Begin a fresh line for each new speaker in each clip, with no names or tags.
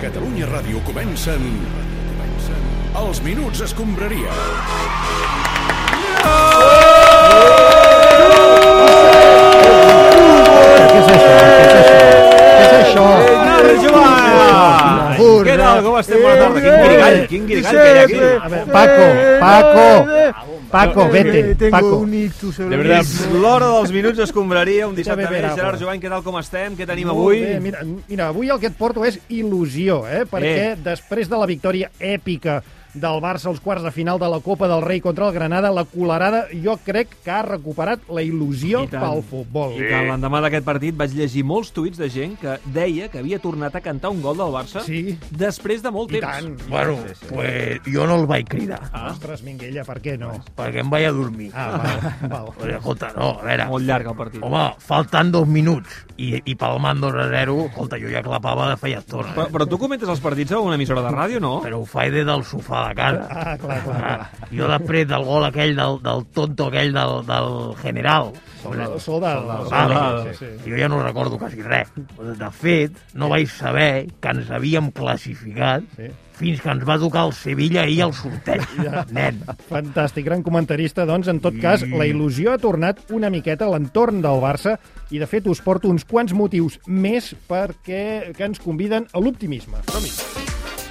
Catalunya Ràdio comencen... Els Minuts Escombraria.
Bernardo Joan!
Burro.
Què tal? Com estem? Bona tarda. Quin guirigall, quin guirigall que hi ha aquí.
A ver, Eh, Paco, Paco, Paco,
eh,
vete,
Tengo
Paco.
un ictus.
De veritat, l'hora dels minuts escombraria un dissabte
Ja me
més.
verá,
Gerard
bueno.
Joan, què tal com estem? Què tenim
Molt
avui?
bé, Eh, mira, mira, avui el que et porto és il·lusió, eh? perquè
Eh.
eh. després de la victòria èpica del Barça als quarts de final de la Copa del Rei contra el Granada, la colarada jo crec que ha recuperat la il·lusió
I tant.
pel futbol.
I que l'endemà d'aquest partit vaig llegir molts tuits de gent que deia que havia tornat a cantar un gol del Barça
Sí.
després de molt
I
temps.
tant.
Bueno, pues jo no el vaig cridar,
Ostres, Minguella, per què no?
perquè em vaig a dormir.
Ah, val, val.
Pues, escolta, no, a veure,
Molt llarg el partit.
home, faltant dos minuts i, i palmant 2 a 0, escolta, jo ja clapava de feia estona.
Però,
Eh?
però tu comentes els partits a una emissora de ràdio, no?
Però ho faig des del sofà de casa.
Ah, clar, clar, clar.
Jo després del gol aquell, del, del tonto aquell del, del general,
Soldado, soldado.
Soldado. Ah,
Sí, sí.
jo ja no recordo quasi res. De fet, no vaig saber que ens havíem classificat
Sí.
fins que ens va tocar el Sevilla ahir al sorteig. Nen, Mm.
Fantàstic, gran comentarista. Doncs, en tot cas, la il·lusió ha tornat una miqueta a l'entorn del Barça i, de fet, us porto uns quants motius més perquè que ens conviden a l'optimisme.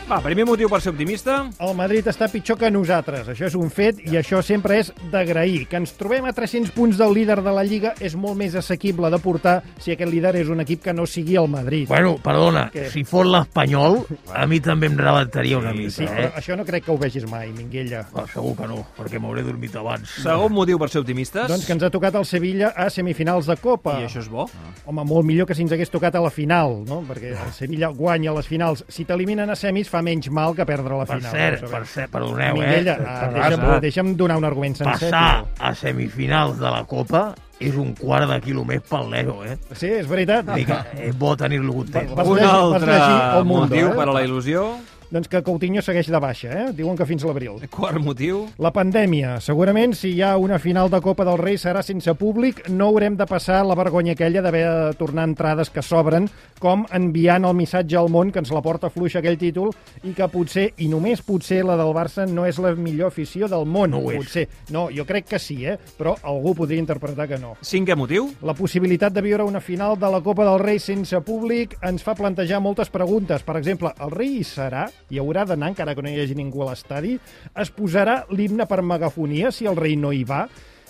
Va, primer motiu per ser optimista.
El Madrid està pitjor que nosaltres, això és un fet i això sempre és d'agrair. Que ens trobem a 300 punts del líder de la Lliga és molt més assequible de portar si aquest líder és un equip que no sigui el Madrid.
Bueno, perdona,
Què?
si fos l'Espanyol, a mi també em rebentaria una mica,
Sí, però
eh?
això no crec que ho vegis mai, Minguella.
Però segur que no, perquè m'hauré dormit abans.
Segon motiu per ser optimistes.
Doncs que ens Ah. ha tocat el Sevilla a semifinals de Copa.
I això és bo.
Home, molt millor que si ens hagués tocat a la final, no? Perquè el Sevilla guanya les finals. Si t'eliminen a semis fa menys mal que perdre la
Per
final.
cert,
Ho
per
sabem.
cert, perdoneu,
Minguella,
eh?
ah, deixa'm,
Terrassa.
deixa'm donar un argument sencer.
Passar a semifinals de la Copa és un quart de quilo més pel Leo, eh?
tio. Sí, és veritat.
Vull dir que és bo tenir-lo content.
Vas
Un
llegir- vas
altre
llegir El Mundo,
motiu
eh?
per a la il·lusió.
Doncs que Coutinho segueix de baixa, eh? Diuen que fins a l'abril.
Quart motiu.
La pandèmia. Segurament, si hi ha una final de Copa del Rei, serà sense públic. No haurem de passar la vergonya aquella d'haver de tornar entrades que s'obren, com enviant el missatge al món que ens la porta fluixa aquell títol i que potser, i només potser, la del Barça no és la millor afició del món.
No ho és.
potser. No, jo crec que sí, eh? Però algú podria interpretar que no.
Cinquè motiu.
La possibilitat de viure una final de la Copa del Rei sense públic ens fa plantejar moltes preguntes. Per exemple, el rei hi serà? Hi haurà d'anar encara que no hi hagi ningú a l'estadi? Es posarà l'himne per megafonia si el rei no hi va?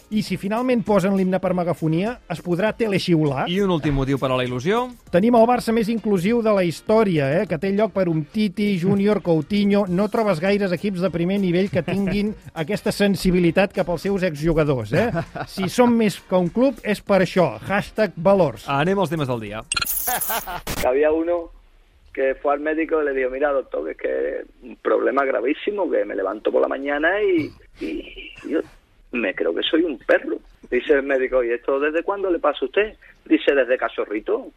I si finalment posen l'himne per megafonia, es podrà telexiular?
I un últim motiu per a la il·lusió.
Tenim el Barça més inclusiu de la història, eh? que té lloc per un Titi, Júnior, Coutinho... No trobes gaires equips de primer nivell que tinguin aquesta sensibilitat cap als seus exjugadors. Eh? Si som més que un club, és per això. Hashtag valors.
Anem als temes del dia.
que había uno que fue al médico y le dijo, mira doctor, que es que un problema gravísimo, que me levanto por la mañana y, y yo me creo que soy un perro. Dice el médico, ¿y esto desde cuándo le pasa a usted? Dice, desde cachorrito.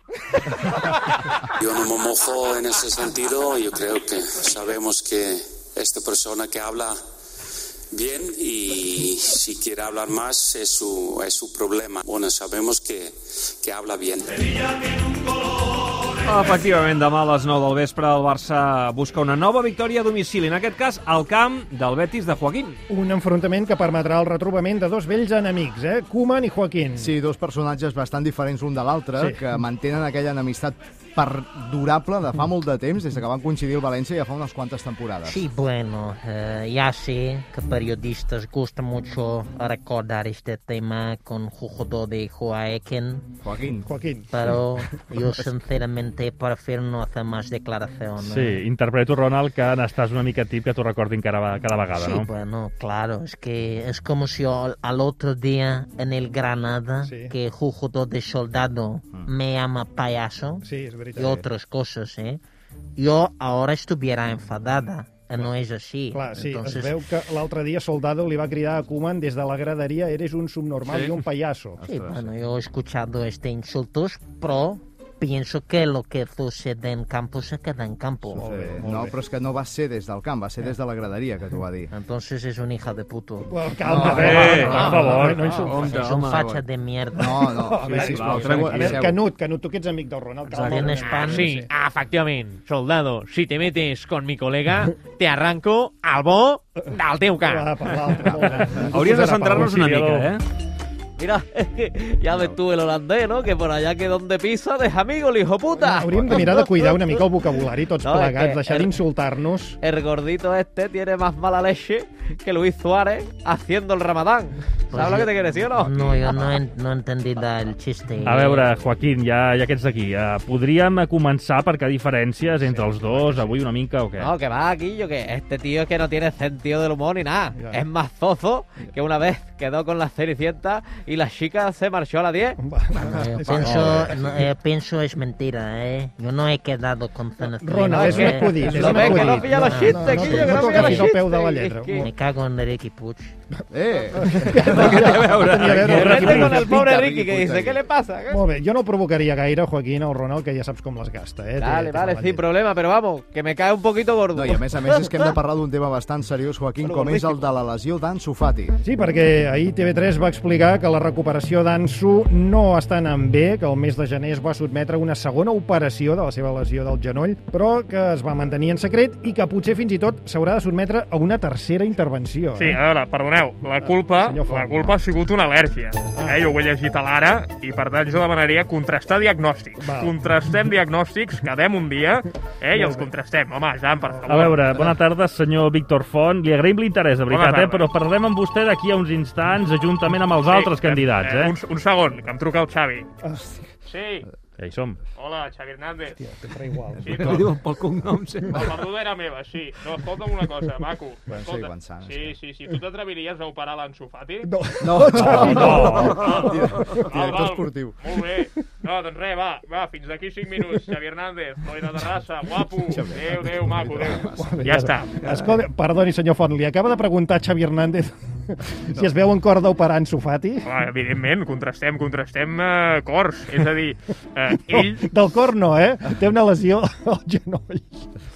Yo no me mojo en ese sentido. Yo creo que sabemos que esta persona que habla bien y si quiere hablar más es su, es su problema. Bueno, sabemos que, que habla bien.
Efectivament, demà a les 9 del vespre el Barça busca una nova victòria a domicili, en aquest cas al camp del Betis de Joaquín.
Un enfrontament que permetrà el retrobament de dos vells enemics, eh? Koeman i Joaquín.
Sí, dos personatges bastant diferents l'un de l'altre,
Sí.
sí. que mantenen aquella enemistat perdurable de
Mm.
fa molt de temps, des que van coincidir el València ja fa unes quantes temporades.
Sí, bueno, eh, ya sé que periodistas gusta mucho recordar este tema con jugador de Joaquín,
Joaquín.
Joaquín.
pero yo sinceramente prefiero no hacer más declaraciones.
Sí, interpreto, Ronald, que n'estàs una mica tip que t'ho recordin cada, cada vegada,
Sí,
no?
bueno, claro, es que es como si al, al otro día en el Granada,
Sí.
que jugador de soldado
Mm.
me llama payaso
Sí, és veritat.
y otras cosas, ¿eh? Yo ahora estuviera enfadada, eh, no es así.
Clar, sí, es
Entonces,
veu que l'altre dia Soldado li va cridar a Koeman des de la graderia eres un subnormal sí. i un payaso.
Sí, bueno, yo he escuchado este insultos, pero pienso que lo que sucede en campo se queda en campo.
Eh, No, però és que no va ser des del camp, va ser des de la graderia, que t'ho va dir.
Entonces es una hija de puto.
Well, calma,
No,
a veure,
eh,
per favor, no insultis.
Es un facha de mierda.
No, no, sí, sisplau,
va,
treu-
A veure,
deixeu.
Canut, Canut, tu que ets amic del Ronald. calma.
Tienes pan.
Sí, efectivament, soldado, si te metes con mi colega, te arranco al bo del teu
Va,
cap.
per l'altre, molt bé.
Hauríem de centrar-nos una mica, eh?
Mira, ya ves tú el holandés, ¿no? Que por allá que donde pisa deja amigo el hijo puta.
Hauríem de mirar de cuidar una mica el vocabulari tots
No, és
plegats,
que
deixar
el-
d'insultar-nos.
El gordito este tiene más mala leche que Luis Suárez haciendo el ramadán.
Pues
¿Sabes lo
yo-
que te quiero decir o no?
No, yo no, en- no entendí la- el chiste.
A veure, Joaquín, ja, ja que ets aquí, eh, podríem començar per què diferències entre els dos avui una mica o què?
No, que va, Guillo, que este tío es que no tiene sentido del humor ni nada.
Ya.
Es más zozo que una vez quedó con la Cenicienta y la chica se marchó a las 10.
No, yo pienso, no, yo pienso es mentira, ¿eh? Yo no he quedado con Cenicienta.
Ronald, és un
que-
acudit, és
Lo
un
ves que no
acudit.
pilla los
No,
chistes,
no,
no,
Guillo, que
no
no pilla los
toquis
chistes.
al peu de la
Es
lletra.
que-
Me cago en Ricky Puig.
Eh!
Vete
Ricky
con
Puig.
el pobre
Ricky
Ricky que
Puig,
dice,
ahí.
¿qué le pasa?
Molt bé, jo no el provocaria gaire, Joaquín, el Ronald, que ja saps com les gasta, eh? Té-
Vale, vale,
té mala
sin
llet.
problema, pero vamos, que me cae un poquito gordo.
No, i a més a més és que hem de parlar d'un tema bastant seriós, Joaquín, com és el de la lesió d'Ansu Fati.
Sí, perquè ahir TV3 va explicar que la recuperació d'Ansu no està anant bé, que el mes de gener es va sotmetre a una segona operació de la seva lesió del genoll, però que es va mantenir en secret i que potser fins i tot s'haurà de sotmetre a una tercera intervenció. eh?
Sí, a veure, perdoneu, la culpa,
Ah, Senyor Font. Ah.
la culpa ha sigut una al·lèrgia. Eh, jo ho he llegit a l'ara i, per tant, jo demanaria contrastar diagnòstics.
Val.
Contrastem diagnòstics, quedem un dia eh, i els contrastem. Home, Jan, per favor.
A veure, bona tarda, senyor Víctor Font. Li agraïm l'interès, de veritat,
tarda.
eh? però parlarem amb vostè d'aquí a uns instants, juntament amb els
Sí,
altres candidats. Eh?
Un, un segon, que em truca el Xavi. Sí,
Ja hi som.
hola, Xavi Hernández. Hòstia,
sempre igual.
Sí,
Li
no,
diuen pel cognom, sempre.
la perduda era meva, sí. No, escolta'm una cosa, maco.
Bueno, estic
Escolta,
avançant, és
sí, sí, sí. Tu t'atreviries a operar l'Ansu Fati?
No.
No, no, no. Director esportiu.
Ah, Molt bé. No, doncs res, va, va, fins d'aquí 5 minuts. Xavi Hernández, noi de Terrassa, guapo. Adéu, adéu, maco, adéu. Ja està.
Escolta, perdoni, senyor Font, li acaba de preguntar a Xavi Hernández si es veu en cor d'operar en Sofati.
Home, evidentment, contrastem, contrastem eh, cors. És a dir, eh,
Oh.
ell,
Del cor no, eh? Té una lesió al genoll.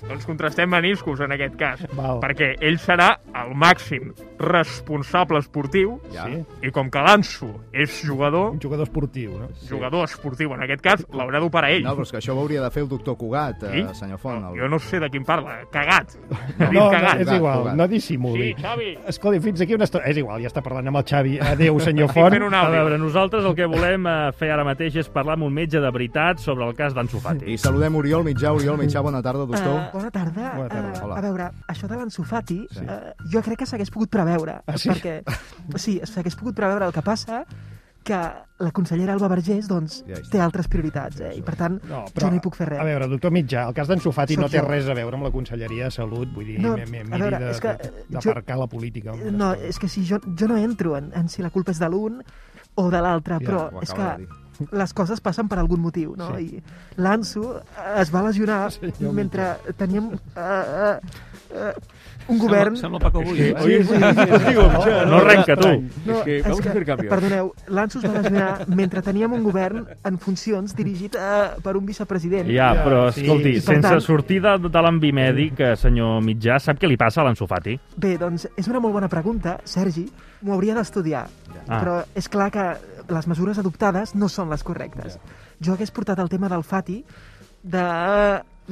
doncs contrastem meniscos en aquest cas,
Val.
perquè ell serà el màxim responsable esportiu
Ja.
Sí,
i com que l'Anso és jugador,
un jugador esportiu, no?
jugador esportiu en aquest cas, l'haurà d'operar ell.
No, però és que això ho hauria de fer el doctor Cugat, eh,
Ell?
senyor Font.
No,
El...
Jo no sé de quin parla. Cagat. Ha dit
No, no,
cagat.
és igual, no dissimuli.
Sí, Xavi.
Escolti, fins aquí una estona... És igual, ja està parlant amb el Xavi. Adéu, senyor
Estic
Font.
fent un
A
àudio.
veure, nosaltres el que volem eh, fer ara mateix és parlar amb un metge de veritat sobre el cas d'en Sofati.
I saludem Oriol Mitjà. Oriol Mitjà, bona tarda,
Ah,
doctor.
Eh, Bona tarda.
Bona tarda.
Eh,
Hola.
a veure, això de l'ensofati,
Sí.
sí. eh, jo crec que s'hagués pogut preveure.
Ah, sí?
Perquè, sí, s'hagués pogut preveure el que passa, que la consellera Alba Vergés doncs,
Ja hi està.
té altres prioritats, eh? i per tant
No,
jo no hi puc fer res.
A veure, doctor Mitjà, el cas d'en Sofati
Sóc
no té
jo.
res a veure amb la Conselleria de Salut, vull dir,
No,
mi- mi-
a
miri
veure,
de-
és que,
de-
eh,
d'aparcar la política. amb
No,
les coses.
és que si jo, jo no entro en, en si la culpa és de l'un o de l'altre,
Ja,
però
ho
és
acaba de
que les coses passen per algun motiu, no? Sí. I l'Anso eh, es va lesionar
Senyor
mentre teníem eh, eh, eh, un govern...
Sembla Paco Bullo, eh?
Sí, sí, sí.
No renca, tu.
No, és que vamos a hacer cambios. Perdoneu, l'Anso es va lesionar mentre teníem un govern en funcions dirigit eh, per un vicepresident.
Ja, però
Sí.
escolti,
I
per
sense
tant-
sortir de, de l'envi mèdic, eh, senyor Mitjà, sap què li passa a l'ensofati?
Bé, doncs és una molt bona pregunta, Sergi. M'ho hauria d'estudiar.
Ah.
Però és clar que les mesures adoptades no són les correctes. Jo hagués portat el tema del Fati de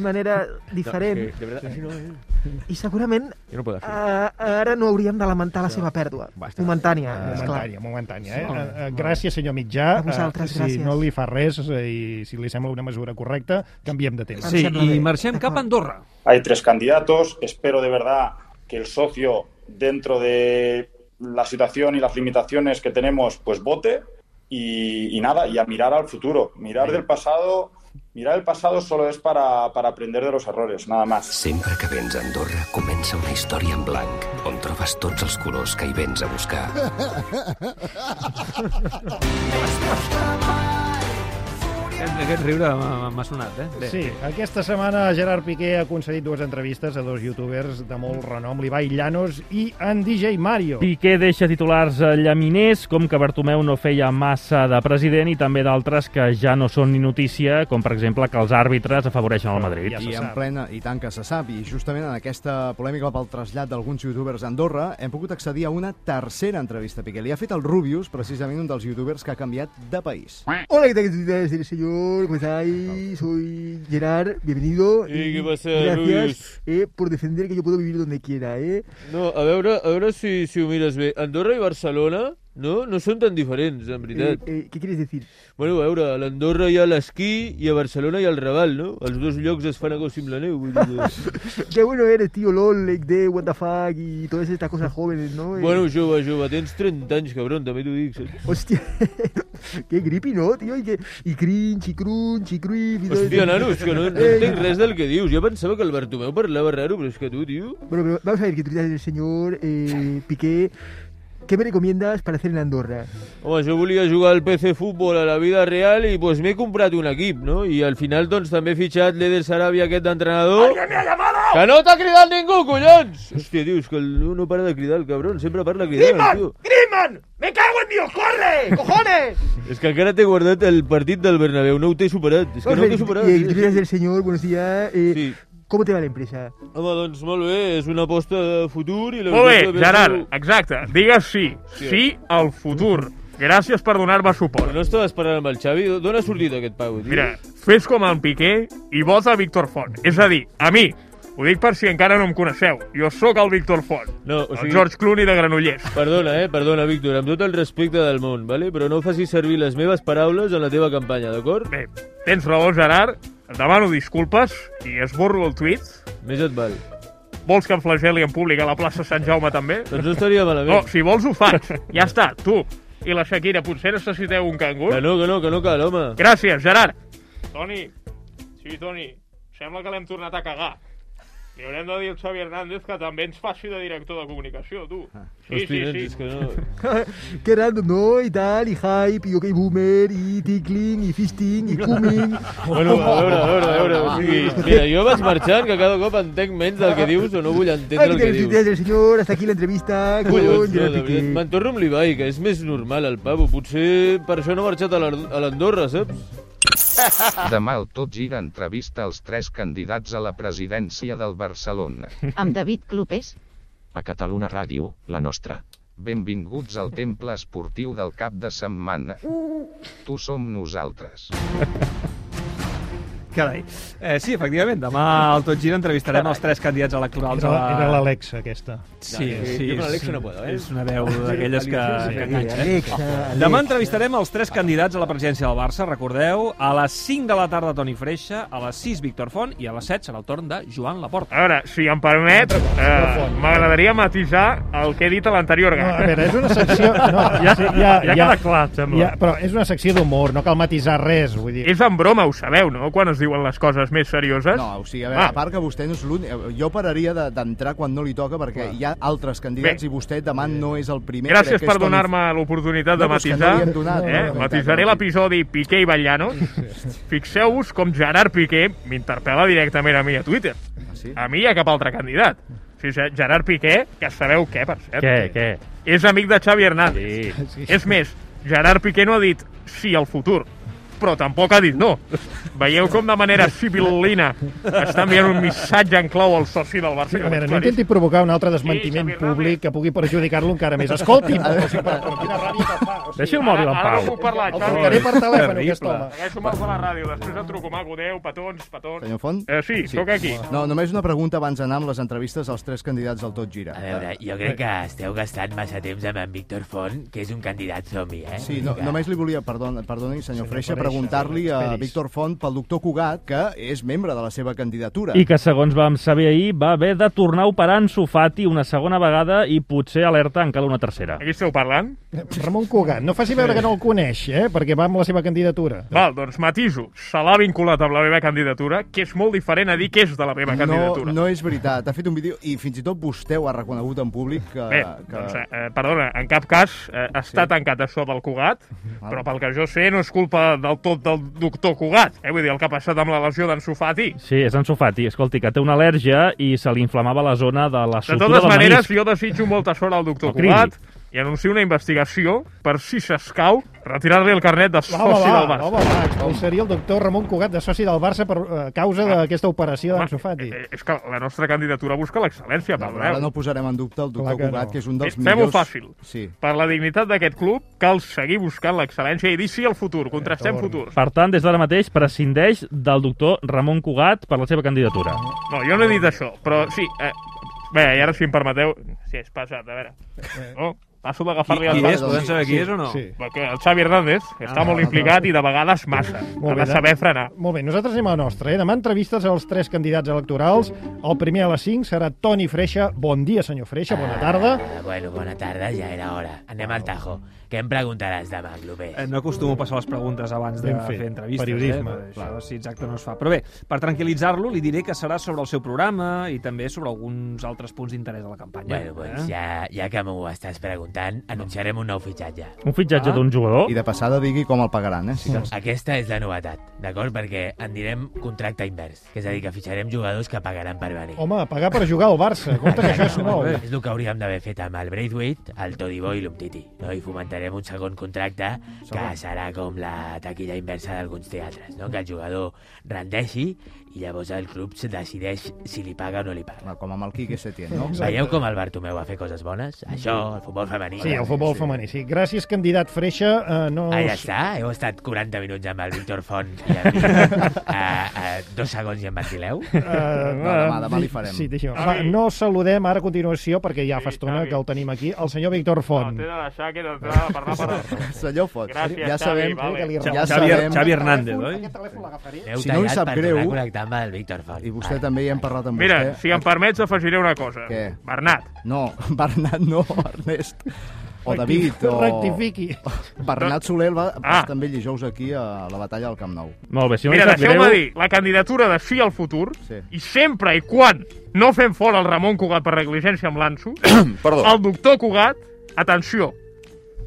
manera
eh,
diferent. No, de veritat, I segurament no ara no hauríem de lamentar la seva pèrdua. Momentània,
Ah,
és clar.
Momentània, momentània. Eh? Eh, eh, Gràcies, senyor Mitjà.
A vosaltres,
Eh, Si
gràcies.
no li fa res eh, i si li sembla una mesura correcta, canviem de tema.
Em
Sí,
sembla
i
bé.
marxem cap a Andorra.
Hay tres candidatos. Espero de verdad que el socio, dentro de la situación y las limitaciones que tenemos, pues vote. Y, y nada, y a mirar al futuro. Mirar del pasado, mirar el pasado solo es para, para aprender de los errores, nada más.
Sempre que vens a Andorra comença una història en blanc on trobes tots els colors que hi vens a buscar.
Aquest, aquest riure m'ha- m'ha sonat, eh?
Sí, aquesta setmana Gerard Piqué ha concedit dues entrevistes a dos youtubers de molt renom, l'Ibai Llanos i en DJ Mario.
Piqué deixa titulars eh, llaminers, com que Bartomeu no feia massa de president i també d'altres que ja no són ni notícia, com per exemple que els àrbitres afavoreixen el Madrid.
I en plena, i tant que se sap, i justament en aquesta polèmica pel trasllat d'alguns youtubers a Andorra, hem pogut accedir a una tercera entrevista a Piqué. Li ha fet el Rubius, precisament un dels youtubers que ha canviat de país.
Eh.
Hola, ¿qué tal? ¿Qué tal, señor? ¿Cómo estáis? Soy Gerard, bienvenido.
Eh,
y
¿qué pasa,
Gracias
Rubius?
eh, por defender que yo puedo vivir donde quiera, ¿eh?
No, a veure, a veure si, si ho mires bé. Andorra i Barcelona no, no són tan diferents, en
Eh,
veritat.
eh, ¿Qué quieres decir?
Bueno, a veure, a l'Andorra hi ha l'esquí i a Barcelona hi ha el Raval, no? Els dos llocs es fan a gos amb la neu. Vull dir que...
Qué bueno eres, tío, LOL, Lake Day, what the fuck y todas estas cosas jóvenes, ¿no? Eh,
bueno, jove, jove, tens 30 anys, cabron, també t'ho dic, saps?
Hostia, qué grippy, ¿no, tío? Y, que, y cringe, y crunch, y creep. y todo
Hòstia,
eso.
nanos, que no, no
Eh,
entenc res del que dius. Jo pensava que el Bartomeu parlava raro, però és que tu, tio...
Bueno, pero vamos a ver, que tú eres el señor eh, Piqué. ¿Qué me recomiendas para hacer en Andorra?
Home, jo volia jugar al PC Futbol a la vida real i doncs m'he comprat un equip, no? I al final doncs també he fitxat l'Eder Sarabia aquest d'entrenador... Que no t'ha cridat ningú, collons! Hòstia, tio, és que el, no para de cridar el cabron, sempre parla cridant, el tio.
¡Griezmann! ¡Me cago en Dios! ¡Corre! ¡Cojones!
És que encara t'he guardat el partit del Bernabéu, no ho t'he superat, és que
Vamos a
no ho
ver,
t'he superat.
eh, que tú eres el señor, buenos días. eh, ¿Cómo te va la empresa?
Home, doncs molt bé, és una aposta de futur i la
Molt bé,
veritat,
Gerard, exacte. Digues sí. Sí al futur. Gràcies per donar-me suport.
No estava esperant amb el Xavi? D'on ha sortit aquest pau, tio?
Mira, fes com el Piqué i vota Víctor Font. És a dir, a mi. Ho dic per si encara no em coneixeu. Jo sóc el Víctor Font.
No, o sigui...
El George Clooney de Granollers.
Perdona, eh? Perdona, Víctor, amb tot el respecte del món, vale? però no facis servir les meves paraules en la teva campanya, d'acord?
Bé, tens raó, Gerard. Et demano disculpes i esborro el tuit.
Més et val.
Vols que em flageli en públic a la plaça Sant Jaume també?
Doncs no estaria malament.
No, si vols ho faig. Ja està, tu i la Shakira potser necessiteu un cangur.
Que no, que no, que no cal, home.
Gràcies, Gerard. Toni, sí, Toni, sembla que l'hem tornat a cagar. Li haurem de dir al Xavi Hernández que també ens faci de director de comunicació, tu. Sí, sí,
Hosti, nens,
sí.
Ah, és que no...
Qué random, ¿no? Y tal, y hype, y ok boomer, y tickling, y fisting, y coming.
Bueno, a veure, a veure, a veure, o sigui, mira, jo vaig marxant, que cada cop entenc menys del que dius o no vull
Ay, ¿qué
entendre el
tal
que
el
dius.
tuit del señor? Hasta aquí la entrevista con
Collons, no,
Gerard
de
Piqué.
veritat, me'n torno amb l'Ibai, que és més normal, el pavo. Potser per això no ha marxat a l'Ar- a l'Andorra, saps?
Demà el Tot Gira entrevista als tres candidats a la presidència del Barcelona.
Amb David Clopés?
A Catalunya Ràdio, la nostra. Benvinguts al temple esportiu del cap de setmana. Tu som nosaltres.
Carai. Eh, sí, efectivament, demà al Tot Gira entrevistarem els tres candidats electorals.
Era
a
la-
la...
era l'Alexa, aquesta. Ja,
Sí, sí.
jo con
és-
l'Alexa no puedo, eh?
És una veu d'aquelles que,
Sí,
que enganxa. Eh?
Alexa, Alexa.
Demà entrevistarem els tres candidats a la presidència del Barça, recordeu. A les 5 de la tarda, Toni Freixa, a les 6, Víctor Font, i a les 7 serà el torn de Joan Laporta.
A veure, si em permet, eh, m'agradaria matisar el que he dit a l'anterior gag.
No, a veure, és una secció... No,
ja,
sí,
ja, ja, queda clar, em sembla.
Ja, però és una secció d'humor, no cal matisar res, vull dir...
És en broma, ho sabeu, no?, quan es diuen les coses més serioses.
No, o sigui, a veure, ah. a part que vostè no és l'únic... eh, Jo pararia de- d'entrar quan no li toca, perquè hi ha altres candidats
Bé.
i vostè demà no és el primer.
Gràcies
crec que és
per
Toni
donar-me l'oportunitat
No,
de
però és que no
matisar.
li hem donat,
eh?
no, no,
Matisaré
no.
l'episodi Piqué i Ballanos. Fixeu-vos com Gerard Piqué m'interpel·la directament a mi a Twitter.
Ah,
A mi i a cap altre candidat. O sigui, Ge- Gerard Piqué, que sabeu què, per cert.
Què, què?
És amic de Xavi Hernández. Sí. És més, Gerard Piqué no ha dit sí al futur, però tampoc ha dit no. Veieu com de manera sibil·lina està enviant un missatge en clau al soci del Barça.
A veure, no intenti provocar un altre desmentiment públic que pugui perjudicar-lo encara més. Escolti'm! o sigui, per, per quina ràbia que fa. O sigui,
Deixi el mòbil en pau.
parlar, El Xavi. trucaré per telèfon, Terrible. aquest home.
Segueixo molt a la ràdio, després et truco, maco, adeu, petons, petons.
Senyor Font?
Eh, sí, sóc aquí.
No, només una pregunta abans d'anar amb les entrevistes als tres candidats del Tot Gira.
A veure, jo crec que esteu gastant massa temps amb en Víctor Font, que és un candidat somi, eh?
Sí, no,
Vinga.
només li volia, perdon, perdoni, senyor
Senyor
Freixa,
Freixa,
preguntar-li a
esperis.
Víctor Font Puigdemont pel doctor Cugat, que és membre de la seva candidatura.
I que, segons vam saber ahir, va haver de tornar a operar en Sofati una segona vegada i potser alerta encara una tercera.
Aquí esteu parlant?
Ramon Cugat, no faci veure que no el coneix, eh? perquè va amb la seva candidatura.
Val, doncs matiso. Se l'ha vinculat amb la meva candidatura, que és molt diferent a dir que és de la meva
No,
candidatura.
no és veritat. Ha fet un vídeo i fins i tot vostè ho ha reconegut en públic que...
Bé,
que...
doncs, eh, eh, perdona, en cap cas eh, està sí. tancat això del Cugat, però pel que jo sé no és culpa del tot del doctor Cugat. Eh? Vull dir, el que ha passat amb la lesió d'en Sofati.
Sí, és en Sofati. Escolti, que té una al·lèrgia i se li inflamava la zona de la
De
sutura
totes
del
maneres,
menisc.
jo desitjo molta sort al doctor
El cridi.
Cugat i anuncio una investigació per, si s'escau, retirar-li el carnet de soci
Va, va, va,
del Barça.
va, va, va, expulsaria el doctor Ramon Cugat de soci del Barça per eh, causa d'aquesta operació d'en Sofati.
Eh, És que la nostra candidatura busca l'excel·lència,
No,
perdoneu.
ara no posarem en dubte el doctor
Clar que
Cugat,
no.
que és un dels
Eh, fem-ho
millors...
fàcil.
Sí.
Per la dignitat d'aquest club, cal seguir buscant l'excel·lència i dir sí al futur, contrastem futurs.
Per tant, des d'ara mateix prescindeix del doctor Ramon Cugat per la seva candidatura.
No, jo no he dit això, però sí... Eh, bé, i ara, si em permeteu... Sí, és pesat, a veure... No? Passo d'agafar-li
Eh. Qui- qui
el pas.
és? Podem saber qui Sí, és o no? sí.
Perquè el Xavi Hernández que està
Ah,
molt
no,
implicat
no.
i de vegades massa. Ha
eh?
de
de-
saber frenar.
Molt bé, nosaltres anem a la nostra. Eh? Demà entrevistes als tres candidats electorals. El primer a les 5 serà Toni Freixa. Bon dia, senyor Freixa, bona tarda.
Ah, bueno, bona tarda, ja era hora. Anem al tajo. Què em preguntaràs demà, Clopés?
Eh, No acostumo a passar les preguntes abans de
Ben fet.
fer entrevistes.
Periodisme,
Eh? Però Això, sí, exacte, no es fa. Però bé, per tranquil·litzar-lo, li diré que serà sobre el seu programa i també sobre alguns altres punts d'interès de la campanya. eh?
Bueno,
Eh?
doncs ja, ja que m'ho estàs preguntant, anunciarem un nou fitxatge.
Un
Ah.
fitxatge
Ah.
d'un jugador.
I de passada digui com el pagaran, eh? Si cas.
doncs. Aquesta és la novetat, d'acord? Perquè en direm contracte invers, que és a dir, que fitxarem jugadors que pagaran per venir.
Home, a pagar per jugar al Barça. Compte que això és nou.
És el que hauríem d'haver fet amb el Braithwaite, el Todibo i l'Umtiti. No? I fomentarem un segon contracte que serà com la taquilla inversa d'alguns teatres, no? que el jugador rendeixi i llavors el club se decideix si li paga o no li paga.
Com amb el Quique Setién, no?
Veieu com el Bartomeu va fer coses bones? Això, el futbol femení.
Sí, el futbol femení, sí. Gràcies, candidat Freixa. Eh, no...
Ah, ja està. Heu estat 40 minuts amb el Víctor Font i amb mi. Ah, ah, dos segons i em ventileu?
Eh, Sí, deixa,
Ah,
va, no saludem ara a continuació, perquè ja fa estona que el tenim aquí, el senyor Víctor Font.
de deixar que
Ah,
d'entrada a parlar per...
Senyor Fot,
Gràcies,
ja
Xavi,
sabem...
vale.
que li-
Xavi-
ja
Xavi-
sabem...
Xavi Hernández, oi?
Aquest
telèfon l'agafaré.
Heu
Si no us
tallat
sap
per
greu...
tornar a connectar amb el Víctor Font.
I vostè també hi hem parlat amb
Mira,
vostè.
si em permets, afegiré una cosa.
Què?
Bernat.
No, Bernat no, Ernest. O David, o...
Rectifiqui.
Bernat Soler el va ah.
Ah.
també dijous aquí a la batalla del Camp Nou.
Molt bé, si no
Mira,
li sap
deixeu-me
greu...
dir, la candidatura de Sí al futur, sí. i sempre i quan no fem fora el Ramon Cugat per negligència amb l'Anso,
Perdó.
el doctor Cugat, atenció,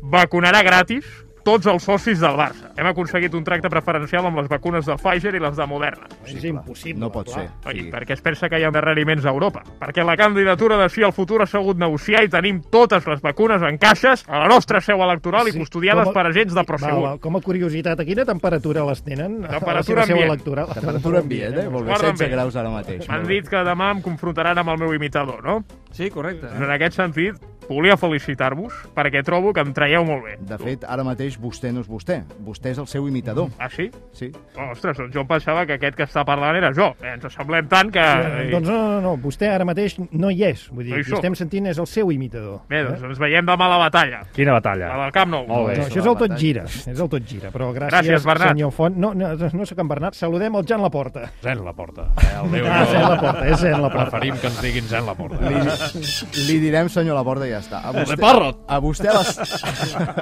vacunarà gratis tots els socis del Barça. Hem aconseguit un tracte preferencial amb les vacunes de Pfizer i les de Moderna.
És impossible.
No pot ser.
Oi, sí. perquè es pensa que hi ha endarreriments a Europa. Perquè la candidatura de Sí al futur ha segut negociar i tenim totes les vacunes en caixes a la nostra seu electoral sí, i custodiades
com a-
per agents de
Va,
Prosegur.
va, com a curiositat, a quina temperatura les tenen? a la
Temperatura
seva seu
ambient.
electoral?
Temperatura ambient, eh? Molt bé,
Guarda'm
16
bé.
graus ara mateix.
M'han dit que demà em confrontaran amb el meu imitador, no?
Sí, correcte.
En aquest sentit, volia felicitar-vos perquè trobo que em traieu molt bé.
De fet, ara mateix vostè no és vostè. Vostè és el seu imitador.
Ah, sí?
Sí.
Oh, ostres, doncs jo em pensava que aquest que està parlant era jo. Eh, ens assemblem tant que...
Eh, doncs no, no, no, vostè ara mateix no hi és. Vull
No
dir,
Ah, hi
qui
sóc.
estem sentint és el seu imitador.
Bé, doncs ens veiem demà a la batalla.
Quina batalla?
La del Camp Nou.
Molt bé. No, això és el tot gira, és el tot gira, però gràcies,
Gràcies, Bernat.
senyor Font. No, no, no sóc en Bernat, saludem el Jan Laporta.
Zen la porta. Eh, el Déu
Ah,
no-
Zen la Porta, és Zen la Porta.
Preferim que ens diguin Zen la porta.
Li, li direm senyor Laporta i ja està. A
Ole, parrot!
a vostè a les...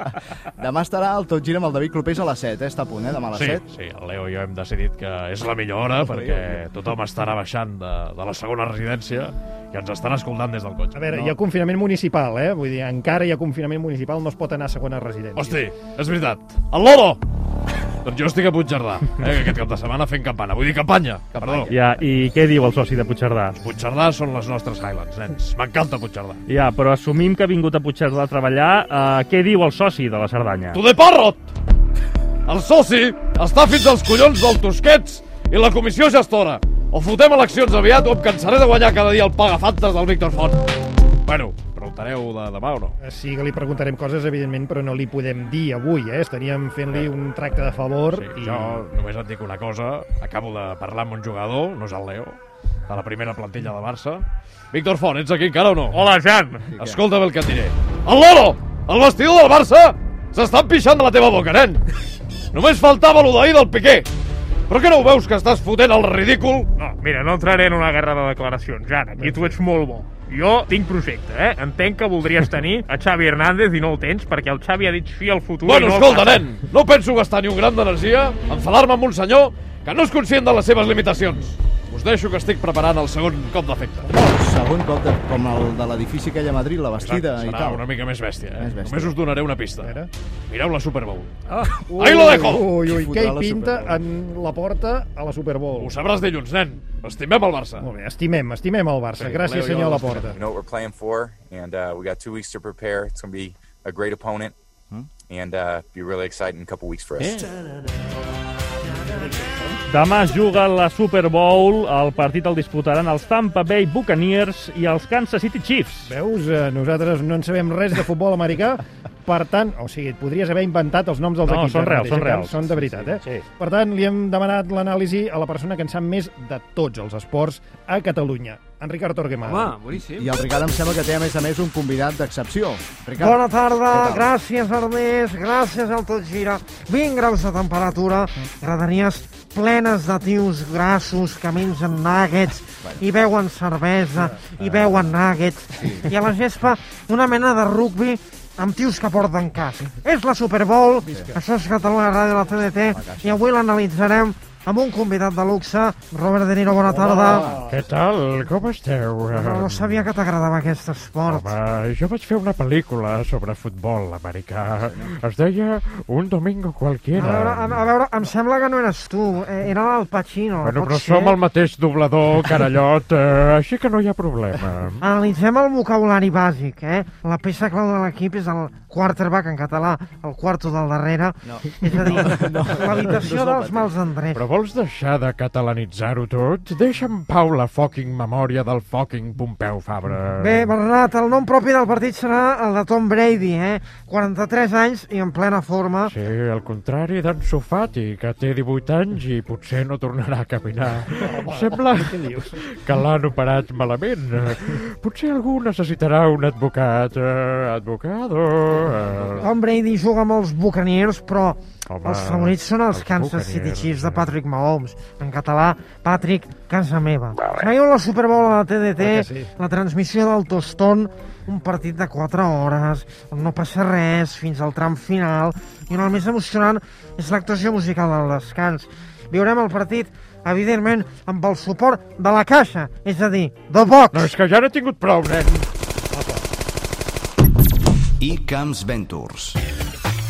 Demà estarà el Tot Gira amb el David Clopés a les 7, eh? Està a punt, eh? Demà a les
Sí,
7.
sí, el Leo i jo hem decidit que és la millor hora perquè tothom estarà baixant de, de la segona residència i ens estan escoltant des del cotxe.
A veure, hi ha confinament municipal, eh? Vull dir, encara hi ha confinament municipal, no es pot anar a segona residència.
Hosti, és veritat. El Lolo! doncs jo estic a Puigcerdà, eh, aquest cap de setmana fent campana. Vull dir campanya, perdó.
Ja, I què diu el soci de Puigcerdà?
Puigcerdà són les nostres Highlands, nens. M'encanta Puigcerdà.
Ja, però assumim que ha vingut a Puigcerdà a treballar. Eh, què diu el soci de la Cerdanya?
Tu de parrot! El soci està fins als collons del Tosquets i la comissió gestora. O fotem eleccions aviat o em cansaré de guanyar cada dia el pagafantes del Víctor Font. Bueno, preguntareu de demà o no?
Eh, Sí que li preguntarem coses, evidentment, però no li podem dir avui, eh? Estaríem fent-li un tracte de favor.
Sí, jo només et dic una cosa. Acabo de parlar amb un jugador, no és el Leo, de la primera plantilla de Barça. Víctor Font, ets aquí encara o no?
Hola, Jan!
Escolta bé el que et diré. El Lolo, el vestidor del Barça, s'està empixant de la teva boca, nen. Només faltava lo d'ahir del Piqué. Però que no ho veus que estàs fotent el ridícul?
No, mira, no entraré en una guerra de declaracions, Jan. Aquí tu ets molt bo. Jo tinc projecte, eh? Entenc que voldries tenir a Xavi Hernández i no el tens perquè el Xavi ha dit sí al futur
Bueno,
i no...
escolta, nen, no penso gastar ni un gram d'energia, enfadar-me amb un senyor que no és conscient de les seves limitacions. Us deixo que estic preparant el segon cop d'efecte.
Segon cop de, com el de l'edifici aquell a Madrid, la bastida
Serà
i tal.
una mica més bèstia, eh?
Més bèstia.
Només us donaré una pista. Mireu la Super Bowl.
Ah.
Ahí lo dejo!
Ui, ui,
Qui
què
fotrà
hi
la
pinta en la porta a la Super Bowl?
Ho sabràs dilluns, nen. Estimem el Barça.
Molt bé, estimem, estimem el Barça. Gràcies, senyor Laporta.
We know what we're playing for, and uh, we got two weeks to prepare. It's going to be a great opponent,
Hmm?
and uh, be really exciting couple weeks for us.
Demà juga la Super Bowl. El partit el disputaran els Tampa Bay Buccaneers i els Kansas City Chiefs.
Veus, eh, nosaltres no en sabem res de futbol americà, per tant, o sigui, et podries haver inventat els noms dels
No,
equips.
són
ara
reals,
mateix,
són
encara
reals.
Són de
Sí,
veritat,
sí,
eh? Per tant, li hem demanat l'anàlisi a la persona que en sap més de tots els esports a Catalunya, en Ricard Torquemada.
boníssim.
I el Ricard em sembla que té, a més a més, un convidat d'excepció. Ricard,
Bona tarda,
què tal?
gràcies Ernest, gràcies al Tot Gira. 20 graus de temperatura, gradanies plenes de tios grassos que mengen nuggets i beuen cervesa i beuen nuggets. I a la gespa una mena de rugbi amb tios que porten cas. És la Super Bowl, això és Catalunya Ràdio, la TDT, i avui l'analitzarem amb un convidat de luxe, Robert De Niro, bona tarda.
Què tal? Com esteu?
No, no sabia que t'agradava aquest esport.
Home, jo vaig fer una pel·lícula sobre futbol americà. Es deia Un domingo
A veure,
qualquiera.
a, a veure, em sembla que no eres tu, eh, era l'Al Pacino.
Bueno,
pot
però
ser?
som el mateix doblador, carallot, eh, així que no hi ha problema.
Analitzem el vocabulari bàsic, eh? La peça clau de l'equip és el quarterback en català, el quarto del darrere. No. És a dir,
No, no,
l'habitació
no és el
dels mals endrets.
Però vols deixar de catalanitzar-ho tot? Deixa'm pau la fucking memòria del fucking Pompeu Fabra.
Bé, Bernat, el nom propi del partit serà el de Tom Brady, eh? 43 anys i en plena forma.
Sí, al contrari d'en Sofati, que té 18 anys i potser no tornarà a caminar. Sembla que l'han operat malament. Potser algú necessitarà un advocat. Eh, advocado... Eh.
Tom Brady juga amb els Buccaneers, però
Home,
els favorits són els,
els
Kansas City
Buccaneers,
Chiefs de Patrick Mahomes. En català, Patrick, casa meva. Veieu la Super Bowl a la TDT,
Oi que sí?
la transmissió del Toston, un partit de 4 hores, on no passa res fins al tram final, i on el més emocionant és l'actuació musical del descans. Viurem el partit, evidentment, amb el suport de la caixa, és a dir, The Box.
No, és que ja n'he tingut prou, nen.
I Camps Ventures.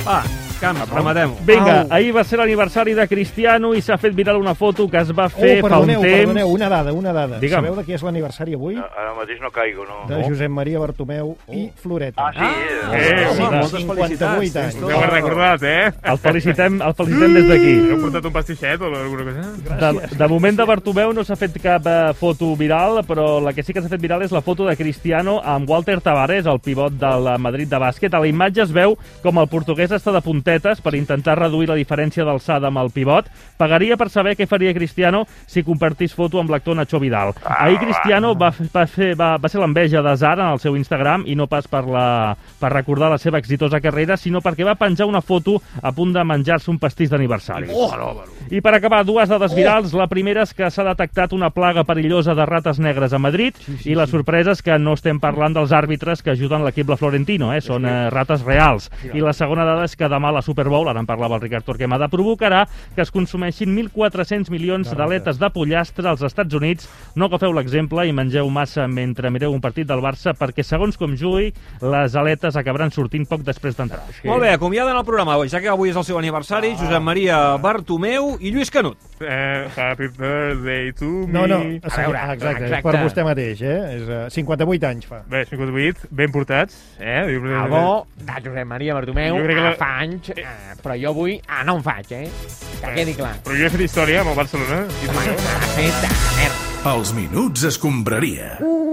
Va, camp, rematem-ho.
Vinga, ahir va ser l'aniversari de Cristiano i s'ha fet viral una foto que es va
Oh,
fer fa un
perdoneu,
temps.
perdoneu, una dada, una dada.
Digue'm.
Sabeu de qui és l'aniversari avui?
Ara mateix no caigo, no?
De Josep Maria Bartomeu i Floreta. Ah,
sí? Ah, eh,
sí,
home,
de
moltes
58
felicitats.
anys.
No ho he recordat, eh?
El felicitem, el felicitem des d'aquí.
Heu portat un pastisset o alguna cosa?
De, de moment de Bartomeu no s'ha fet cap eh, foto viral, però la que sí que s'ha fet viral és la foto de Cristiano amb Walter Tavares, el pivot del eh, Madrid de bàsquet. A la imatge es veu com el portuguès està de puntetes per intentar reduir la diferència d'alçada amb el pivot. Pagaria per saber què faria Cristiano si compartís foto amb l'actor Nacho Vidal. Ahir Cristiano va, fer- va, fer, va, va ser l'enveja de Zara en el seu Instagram i no pas per, la, per recordar la seva exitosa carrera, sinó perquè va penjar una foto a punt de menjar-se un pastís d'aniversari.
Oh, fenòmeno.
I per acabar, dues dades virals. La primera és que s'ha detectat una plaga perillosa de rates negres a Madrid i la sorpresa és que no estem parlant dels àrbitres que ajuden l'equip La Florentino, eh? són eh, rates reals. I la segona dada és que demà a la Super Bowl, ara en parlava el Ricard Torquemada, provocarà que es consumeixin 1.400 milions d'aletes de pollastre als Estats Units. No agafeu l'exemple i mengeu massa mentre mireu un partit del Barça perquè, segons com jugui, les aletes acabaran sortint poc després d'entrar.
Molt bé, acomiaden el programa, ja que avui és el seu aniversari,
Ah.
Josep Maria Bartomeu i Lluís Canut.
Eh, happy birthday to me.
No, no, sí, ah, exacte, és per vostè mateix, eh? És, eh, 58 anys fa.
Bé, 58, ben portats, eh?
Ah,
bo, de Josep Maria Bartomeu,
Jo crec que
la...
la-
fa anys, eh, però jo avui ah, no en faig, eh? Que quedi clar.
Però
Ah,
jo he fet història amb el Barcelona. I tu no.
Feta, merda.
Els minuts escombraria. Uh.